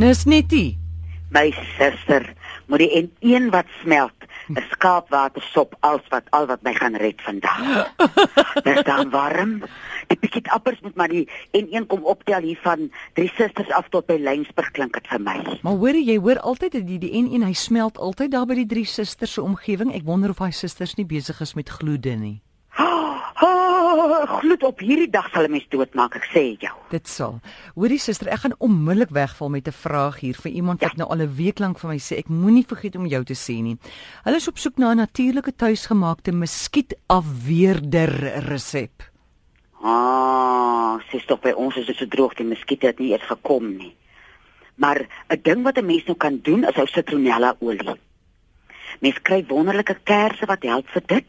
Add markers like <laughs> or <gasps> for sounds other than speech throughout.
Dis net nie. My suster, moet die en een wat smelt, 'n skaapwatersop als wat al wat my gaan red vandag. Dis dan warm. Die bietjie appers moet maar die en een kom optel hier van drie susters af tot by Lynsburg klink dit vir my. <gasps> Maar hoor jy, jy hoor altyd dat die die N1 hy smelt altyd daar by die drie susters se omgewing. Ek wonder of daai susters nie besig is met gloede nie. Oh, gloed op hierdie dag sal 'n mens doodmaak, ek sê jou. Dit sal. Hoorie suster, ek gaan onmiddellik wegval met 'n vraag hier vir iemand wat nou al 'n week lank vir my sê ek moenie vergeet om jou te sê nie. Hulle is op soek na 'n natuurlike tuisgemaakte muskietafweerder resep. Ah, sies tog by ons is dit so droog die muskiete het nie eers gekom nie. Maar 'n ding wat 'n mens nou kan doen is ou citronella olie. Mens kry wonderlike kersse wat help vir dit.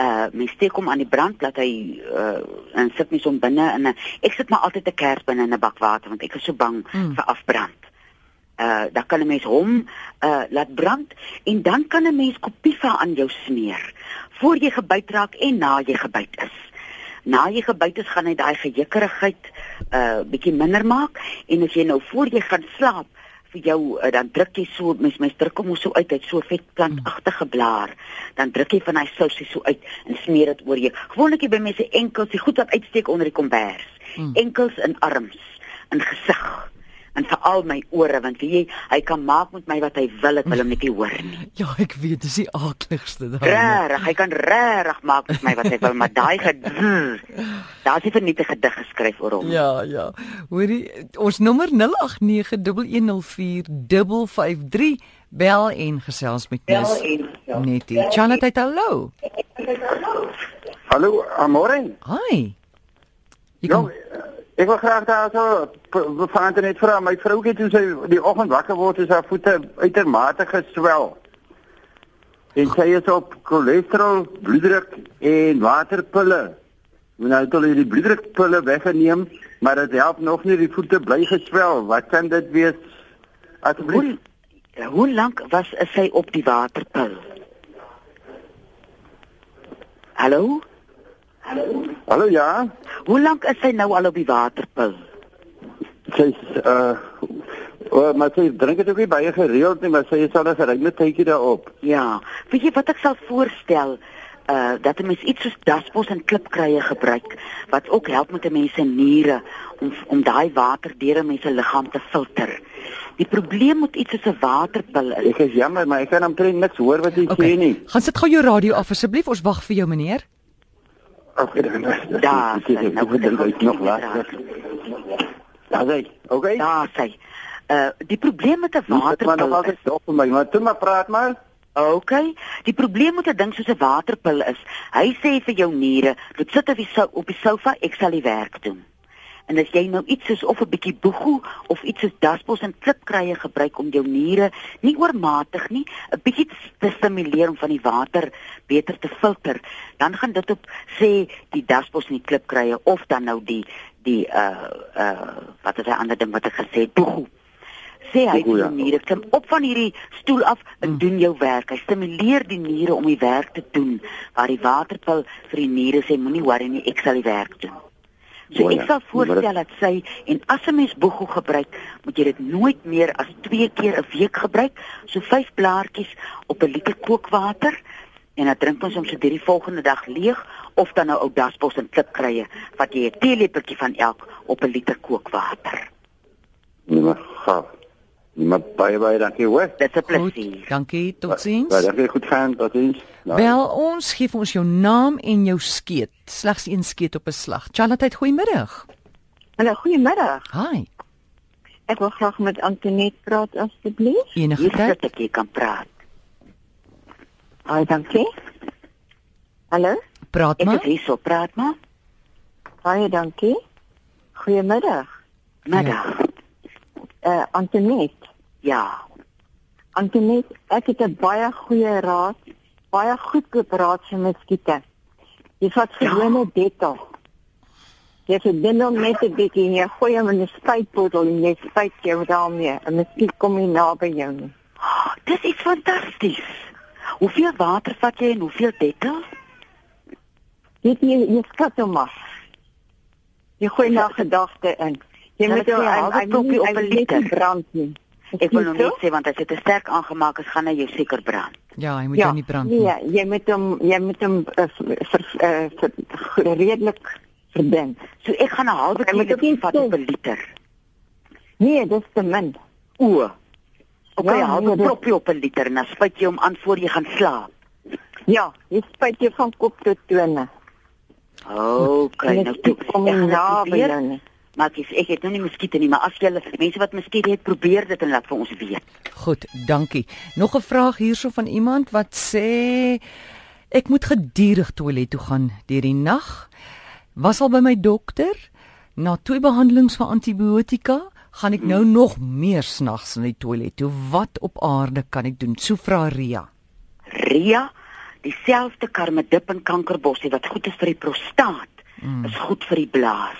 Uh mens steek hom aan die brand laat hy uh en sit mens hom binne in 'n ek sit maar altyd 'n kers binne in 'n bak water want ek is so bang Mm. mm. vir afbrand. Uh dan kan 'n mens hom uh laat brand en dan kan 'n mens kopiva aan jou smeer voor jy gebyt raak en na jy gebyt is na jy gebyt is gaan hy daai gejekerigheid uh bietjie minder maak en as jy nou voor jy gaan slaap vir jou uh, dan druk jy so mens mens druk hom so uit uit so vet plantagtige blaar dan druk jy van daai sousie so uit en smeer dit oor jou gewoonlik hier by mense enkels die goed wat uitsteek onder die kombers Mm. enkels en arms en gesig en veral my ore want weet jy hy kan maak met my wat hy wil ek wil hom net nie hoor nie <laughs> Ja, ek weet, dis die aardigste daai. Regtig, hy kan regtig maak met my wat hy wil, maar daai <laughs> gedur. Daar's nie vir net 'n gedig geskryf oor hom. Ja, ja. Hoorie, ons nommer 0891104553 bel en gesels met Wel Nis. en ja. Net hier. Charlotte, hallo. Hallo, môre. Hi. Jy Ja, kom ek wil graag daar so van net vra, my vroutjie toe sy die oggend wakker word, is haar voete uitermate geswel. En sy is op cholesterol, bloeddruk en waterpille. Moet nou tot hierdie bloeddrukpille weggeneem, maar dit help nog nie die voete bly geswel. Wat kan dit wees? Asseblief. Hoe hoe lank was is sy op die waterpil? Hallo? Hallo ja. Hoe lank is sy nou al op die waterpil? Sy is, uh oh, maar sy drink dit ook nie baie gereeld nie, maar sy is al 'n geruime tydjie daarop. Ja, weet jy wat ek sal voorstel? Uh dat 'n mens iets soos daspos en klipkruie gebruik wat ook help met 'n mens se niere om om daai water deur 'n mens se liggaam te filter. Die probleem met iets soos 'n waterpil is Ek is jammer, maar ek kan omtrent niks hoor wat jy Okay. sê nie. Gaan sit gou jou radio af asseblief. Ons wag vir jou meneer. Ag, dan. Daar, sy, nou nou moet ek dit is nog laat. Daar's hy. Okay. daar sy. Uh die probleem met 'n Nou, Maar dan waterpil was is dit dop vir my, maar toe maar praat maar. Okay, die probleem met 'n ding soos 'n waterpil is, hy sê vir jou niere, "Dit sit op die sou- op die sofa, ek sal die werk doen." En as jy nou iets soos of 'n bietjie boegoe of iets soos daspos en klipkruie gebruik om jou niere nie oormatig nie, 'n bietjie te s- te stimuleer om van die water beter te filter, dan gaan dit op sê die daspos en die klipkruie of dan nou die die uh uh wat is hy ander ding wat ek gesê het, boegoe sê hy Boegoe, vir ja. jou niere klim op van hierdie stoel af en mm. doen jou werk. Hy stimuleer die niere om die werk te doen waar die waterpil vir die niere sê moenie worry nie, ek sal die werk doen. So Mooi, ek ja. sal Maar voorstel dit- dat sy en as 'n mens boegoe gebruik, moet jy dit nooit meer as 2 keer 'n week gebruik, so 5 blaartjies op 'n liter kookwater en dan drink ons hom so deur die volgende dag leeg of dan nou ou daspos en klipkruie wat jy 'n teelepeltjie van elk op 'n liter kookwater. Nee, maar gaaf. Nee, maar baie baie dankie hoor. Dit is 'n Goed. plesier. Dankie. Totsiens. Ja, dankie goed gaan. Totsiens. Nou, Bel ons, gee vir ons jou naam en jou skeet. Slegs een skeet op 'n slag. Charlotte, goeiemiddag. Hallo, goeiemiddag. Hi. Ek wil graag met Antoinette praat asseblief. Enige Hier tyd. sit ek jy kan praat. Baie dankie. Hallo, Praat Ek is maar. hier so praat maar. baie dankie. Goeiemiddag. Ja. Middag. Eh uh, Antoinette. Ja. Antoinette, ek het 'n baie goeie raad, baie goedkoop raad vir muskiete. Jy vat gewone Dettol. Jy verdien hom net 'n bietjie en jy gooi hom in 'n spuitbottel en jy spuit jou daarmee. 'n Muskiet kom nie naby jou nie. Oh, dis iets fantasties. Hoeveel water vat jy en hoeveel detel? Weet jy, jy skat hom af. Jy gooi na gedagte in. Jy Laat moet ek jou sê, haal dit nie- op die hy moet net nie opelieter. brand nie. Ek wil Is nog dit so? net sê want as dit te sterk aangemaak is, gaan hy jou seker brand. Ja, hy moet jou nie brand nie. Nee, jy moet hom jy moet hom uh, eh, ver, uh, ver, ver, redelik verdink. So ek gaan 'n halwe Hy moet kilo ook nie vat stil. op 'n liter. Nee, dis te min. O. Okay, Ja, ja, haal nee, 'n dit- propie op 'n liter en dan spuit jy hom aan voor jy gaan slaap. Ja, jy spyt jou van kop tot tone. Okay, En nou dit toe. kom Ek gaan na dit by probeer. jou nie. Maar ek, ek het nou nie muskiete nie, maar as julle mense wat muskiete het, probeer dit en laat vir ons weet. Goed, dankie. Nog 'n vraag hierso van iemand wat sê ek moet gedurig toilet toe gaan deur die nag. Was al by my dokter. Na twee behandelings vir antibiotika gaan ek nou nog meer snags na die toilet toe. Wat op aarde kan ek doen? So vra Ria. Ria, dieselfde karmedip en kankerbossie wat goed is vir die prostaat, mm. is goed vir die blaas.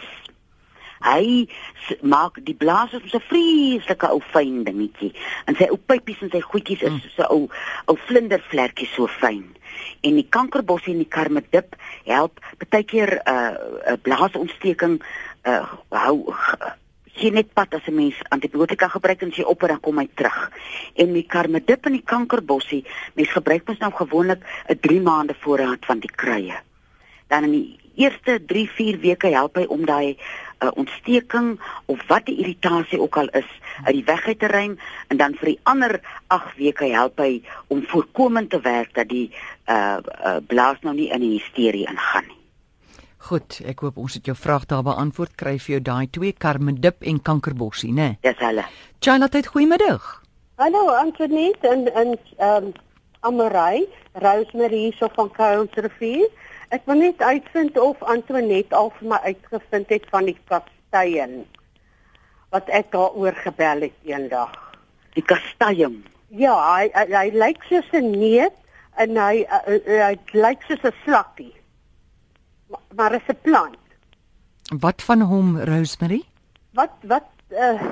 Hy s- maak die blaas is so 'n vreeslike ou fyn dingetjie. En sy ou pypies en sy goedjies is so 'n ou ou vlindervlekkie so fyn. En die kankerbossie en die karmedip help baie keer 'n uh, 'n blaasontsteking uh, hou gee net pad as 'n mens antibiotika gebruik en as jy op en dan kom hy terug. En die karmedip en die kankerbossie, mens gebruik mos nou gewoonlik 'n 3 maande voorraad van die kruie. Dan in die eerste 3-4 weke help hy om daai uh, ontsteking of wat die irritasie ook al is uit die weg uit te ruim en dan vir die ander 8 weke help hy om voorkomend te werk dat die uh, uh, blaas nou nie in die hysterie ingaan nie. Goed, ek hoop ons het jou vraag daar beantwoord. Kry vir jou daai twee karmedip en kankerbossie, né? Nee. Dis hulle. Charlotte, het goeiemiddag. Hallo Antoinette en en ehm um, Amarei, Rosemary hierso van Kuilsrivier. Ek wil net uitvind of Antoinette al vir my uitgevind het van die kasteien wat ek daaroor gebel het eendag. Die kastanje. Ja, hy hy, hy lyk soos 'n neut en hy hy, hy lyk soos 'n slakkie. Maar, maar is 'n plant. Wat van hom, Rosemary? Wat wat uh,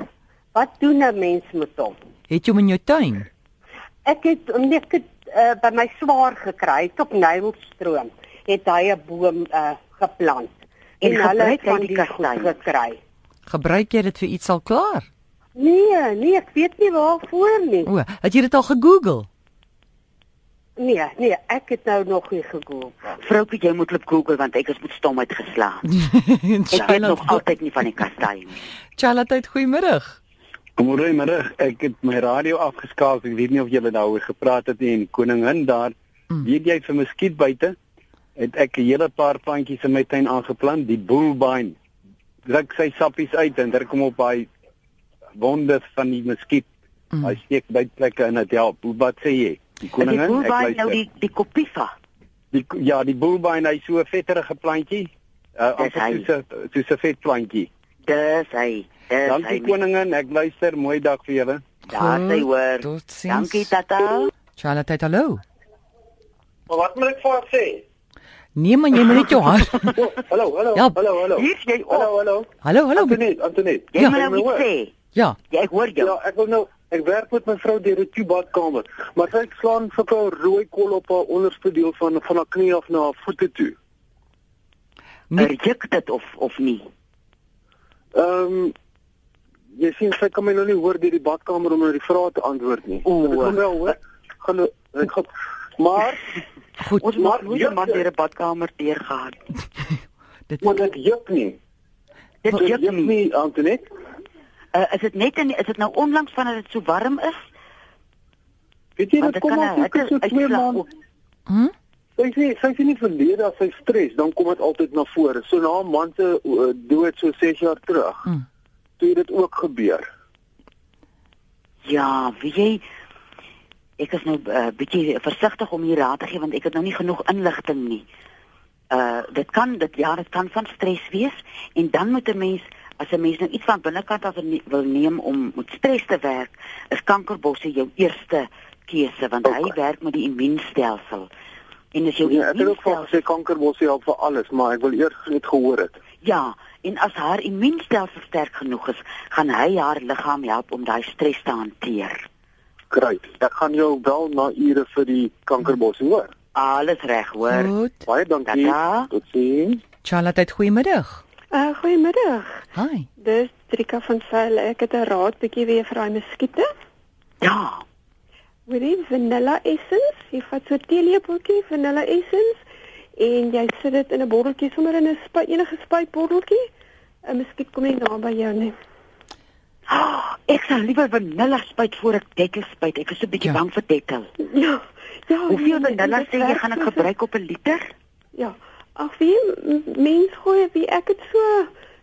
wat doen 'n mens met hom? Het jy hom in jou tuin? Ek het nee, ek het uh, by my swaar gekry het op Nylstroom. Het hy 'n boom uh, geplant En gebruik hy van die goed kastanje? gekry. Gebruik jy dit vir iets al klaar? Nee, nee, ek weet nie waarvoor nie. O, het jy dit al gegoogel? <laughs> Nee, nee, ek het nou nog nie gegoogel. Vroukie, jy moet op Google want ek is met stomheid geslaan. Ek weet nog Charlotte, altyd nie van die kastanje nie. Charlotte, goeiemiddag. Môre middag, ek het my radio afgeskakel. Ek weet nie of julle daaroor gepraat het nie en koningin daar, mm. weet jy vir muskiet buite, het ek 'n hele paar plantjies in my tuin aangeplant, die boelbine. Druk sy sappies uit en druk hom op hy wonde van die muskiet. Mm. Hy steek bytplekke in dit help. Hoe wat sê jy? Die Is die koningin, ek boelwyn luister. nou die die kopiva? Die ja, die boelbine, hy's so 'n vetterige plantjie. Uh, Dis hy. amper soos 'n soos 'n vet plantjie. Dis hy. Dis hy. Dankie koningin, ek luister. Mooi dag vir julle. Daar sy hoor. Tot sins. Dankie tata. Charlotte, hallo. Maar wat moet ek vir haar sê? Nee man, jy moet net jou <laughs> hand. O, Oh, hallo, hallo, Ja. hallo, hallo. Hier is jy op. Hallo, hallo. Hallo, hallo. Antonet, Antonet. Jy Ja. moet Jy nou moet iets hoor. sê. Ja, Ja, ek hoor jou. Ja, ek wil nou ek werk met mevrou deur die toebadkamer, maar sy slaan vir 'n rooi kol op haar onderste deel van van haar knie af na haar voete toe. Ja. Nee. Reject dit of of nie. Ehm um, jy sien sy kan my nou nie hoor deur die badkamer om nou die vrae te antwoord nie. O. Ek kan wel hoor. Gaan nou- ek gaan <laughs> maar goed. Ons maak Maar nooit juk 'n man dit. deur 'n badkamer deurgaan. want dit juk nie. Dit Dit juk juk nie. nie, Antonet. Uh, is dit net in is dit nou onlangs vandat dit so warm is? Weet jy Want dit dit kom kan 'n al hitte so 2 uitslag maande ook. Hm? Sy sê sy sê nie verlede as sy stres, dan kom dit altyd na vore. So na 'n man se uh, dood so 6 jaar terug. Mm. Toe het dit ook gebeur. Ja, weet jy ek is nou 'n uh, bietjie versigtig om hier raad te gee want ek het nou nie genoeg inligting nie. Uh dit kan dit ja, dit kan van stres wees en dan moet 'n mens as 'n mens nou iets van binnekant af ne wil neem om met stres te werk, is kankerbosse jou eerste keuse want okay. hy werk met die immuunstelsel. En as jou Ja, ek het ook van immuunstelsel gesê kankerbos help vir alles, maar ek wil eers net gehoor het. Ja, en as haar immuunstelsel sterk genoeg is, gaan hy haar liggaam help om daai stres te hanteer. Great. Ek gaan jou bel na ure vir die kankerbos hoor. Alles reg, hoor. Mm. Goed. Baie dankie. Tata. Totsiens. Charlotte, goeiemiddag. Uh, goeiemiddag. Hi. Dis Trika van Sail. Ek het 'n raad bietjie weer vir daai muskiete. Ja. <gasps> Wil jy vanilla essence? Jy vat so 'n teelepeltjie vanilla essence en jy sit dit in 'n botteltjie sommer in 'n spuit enige spuitbotteltjie. 'n Muskiet kom nie naby jou nie. Oh, ek sal liewer vanilla spuit voor ek dekkel spuit. Ek is so 'n bietjie Ja. bang vir dekkel. Ja. Ja. Hoeveel nee, vanilla dit sê jy werk gaan ek so vir- gebruik op 'n liter? Ja. Ag wie m- mens gooi wie ek het so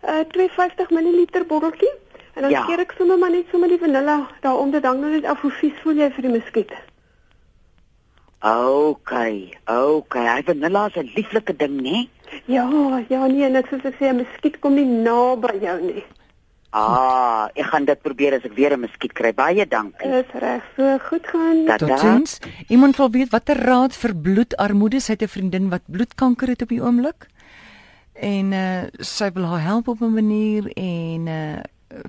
'n uh, 250 ml botteltjie en dan Ja. skeer ek sommer maar net sommer die vanilla daarom dit hang nou net af hoe vies voel jy vir die muskiet. Ja. Okay, okay. Hy vanilla is 'n lieflike ding, né? Ja, ja nee, niks soos ek sê 'n muskiet kom nie naby jou nie. Ah, ek gaan dit probeer as ek weer 'n muskiet kry. Baie dankie. Dis reg. So goed gaan. Dat- Totsiens. Iemand wil weet watter raad vir bloedarmoede. Sy het 'n vriendin wat bloedkanker het op die oomblik. En uh sy wil haar help op 'n manier en uh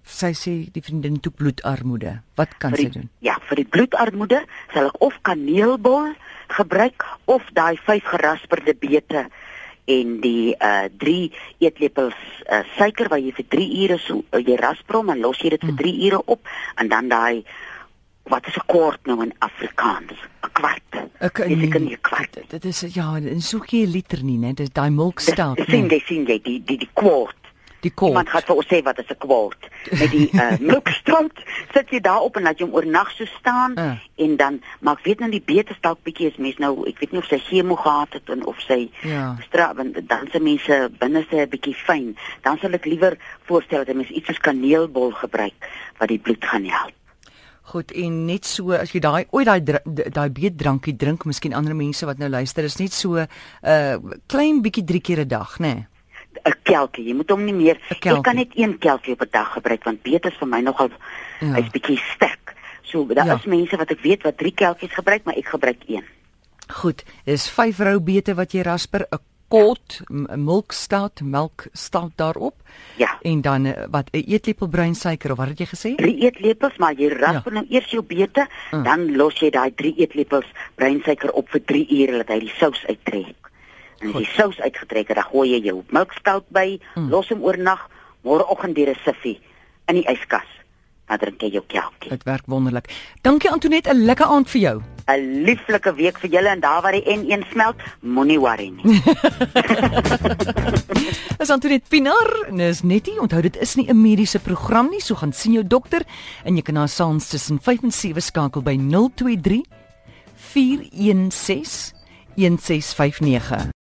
sy sê die vriendin toe bloedarmoede. Wat kan sy vir doen? die, ja, vir die bloedarmoede sal ek of kaneelbol gebruik of daai vyf gerasperde bete en die uh 3 eetlepels uh, suiker wat jy vir 3 ure so uh, jy rasper hom en los jy dit vir 3 ure op en dan daai wat is 'n kwart nou in Afrikaans? 'n kwart. Dis ek in 'n kwart. Dit- Dit is ja, en soek jy 'n liter nie, né? Dis daai milk stout, Dis- Sien né? jy sien jy die die die kwart. Die Iemand gaan kort. vir ons sê wat is 'n kwart. Met die <laughs> uh, melkstroop sit jy daarop en laat jou oornag so staan Ja. en dan maar ek weet nou die beter dalk bietjie is mens nou ek weet nie of sy chemo gehad het en of sy Ja. stra want dan se mense eh, binneste 'n bietjie fyn. Dan sal ek liewer voorstel dat 'n mens iets soos kaneelbol gebruik wat die bloed gaan help. Goed en net so as jy daai ooit daai dra- d- daai beetdrankie drink, miskien ander mense wat nou luister, is net so 'n uh, klein bietjie 3 keer 'n dag, né? 'n kelkie. Jy moet hom nie meer 'n kelkie. jy kan net een kelkie op 'n dag gebruik want beet is vir my nogal Ja. hy's bietjie sterk. So daar Ja. is mense wat ek weet wat 3 kelkies gebruik, maar ek gebruik 1. Goed, dis vyf rou bete wat jy rasper, 'n kot, 'n milkstout, melk stout daarop. Ja. En dan eh, wat 'n eetlepel bruinsuiker of wat het jy gesê? drie eetlepels, maar jy rasp Ja. ja. nou eers jou bete, mm. dan los jy daai drie eetlepels breinsuiker op vir 3 ure dat hy die sous uittrek. En as die sous uitgetrek het, dan gooi jy jou melkstout by, mm. los hom oornag, môreoggend deur 'n siffie in die yskas. Dan drink jy jou kelkie. Dit werk wonderlik. Dankie Antoinette, 'n lekker aand vir jou. 'n Lieflike week vir julle en daar waar die N1 smelt, moenie worry nie. Dis Antoinette Pinaar. en Dis netie, onthou dit is nie 'n mediese program nie, so gaan sien jou dokter en jy kan haar saans tussen 5 en 7 skakel by 023 416 1659.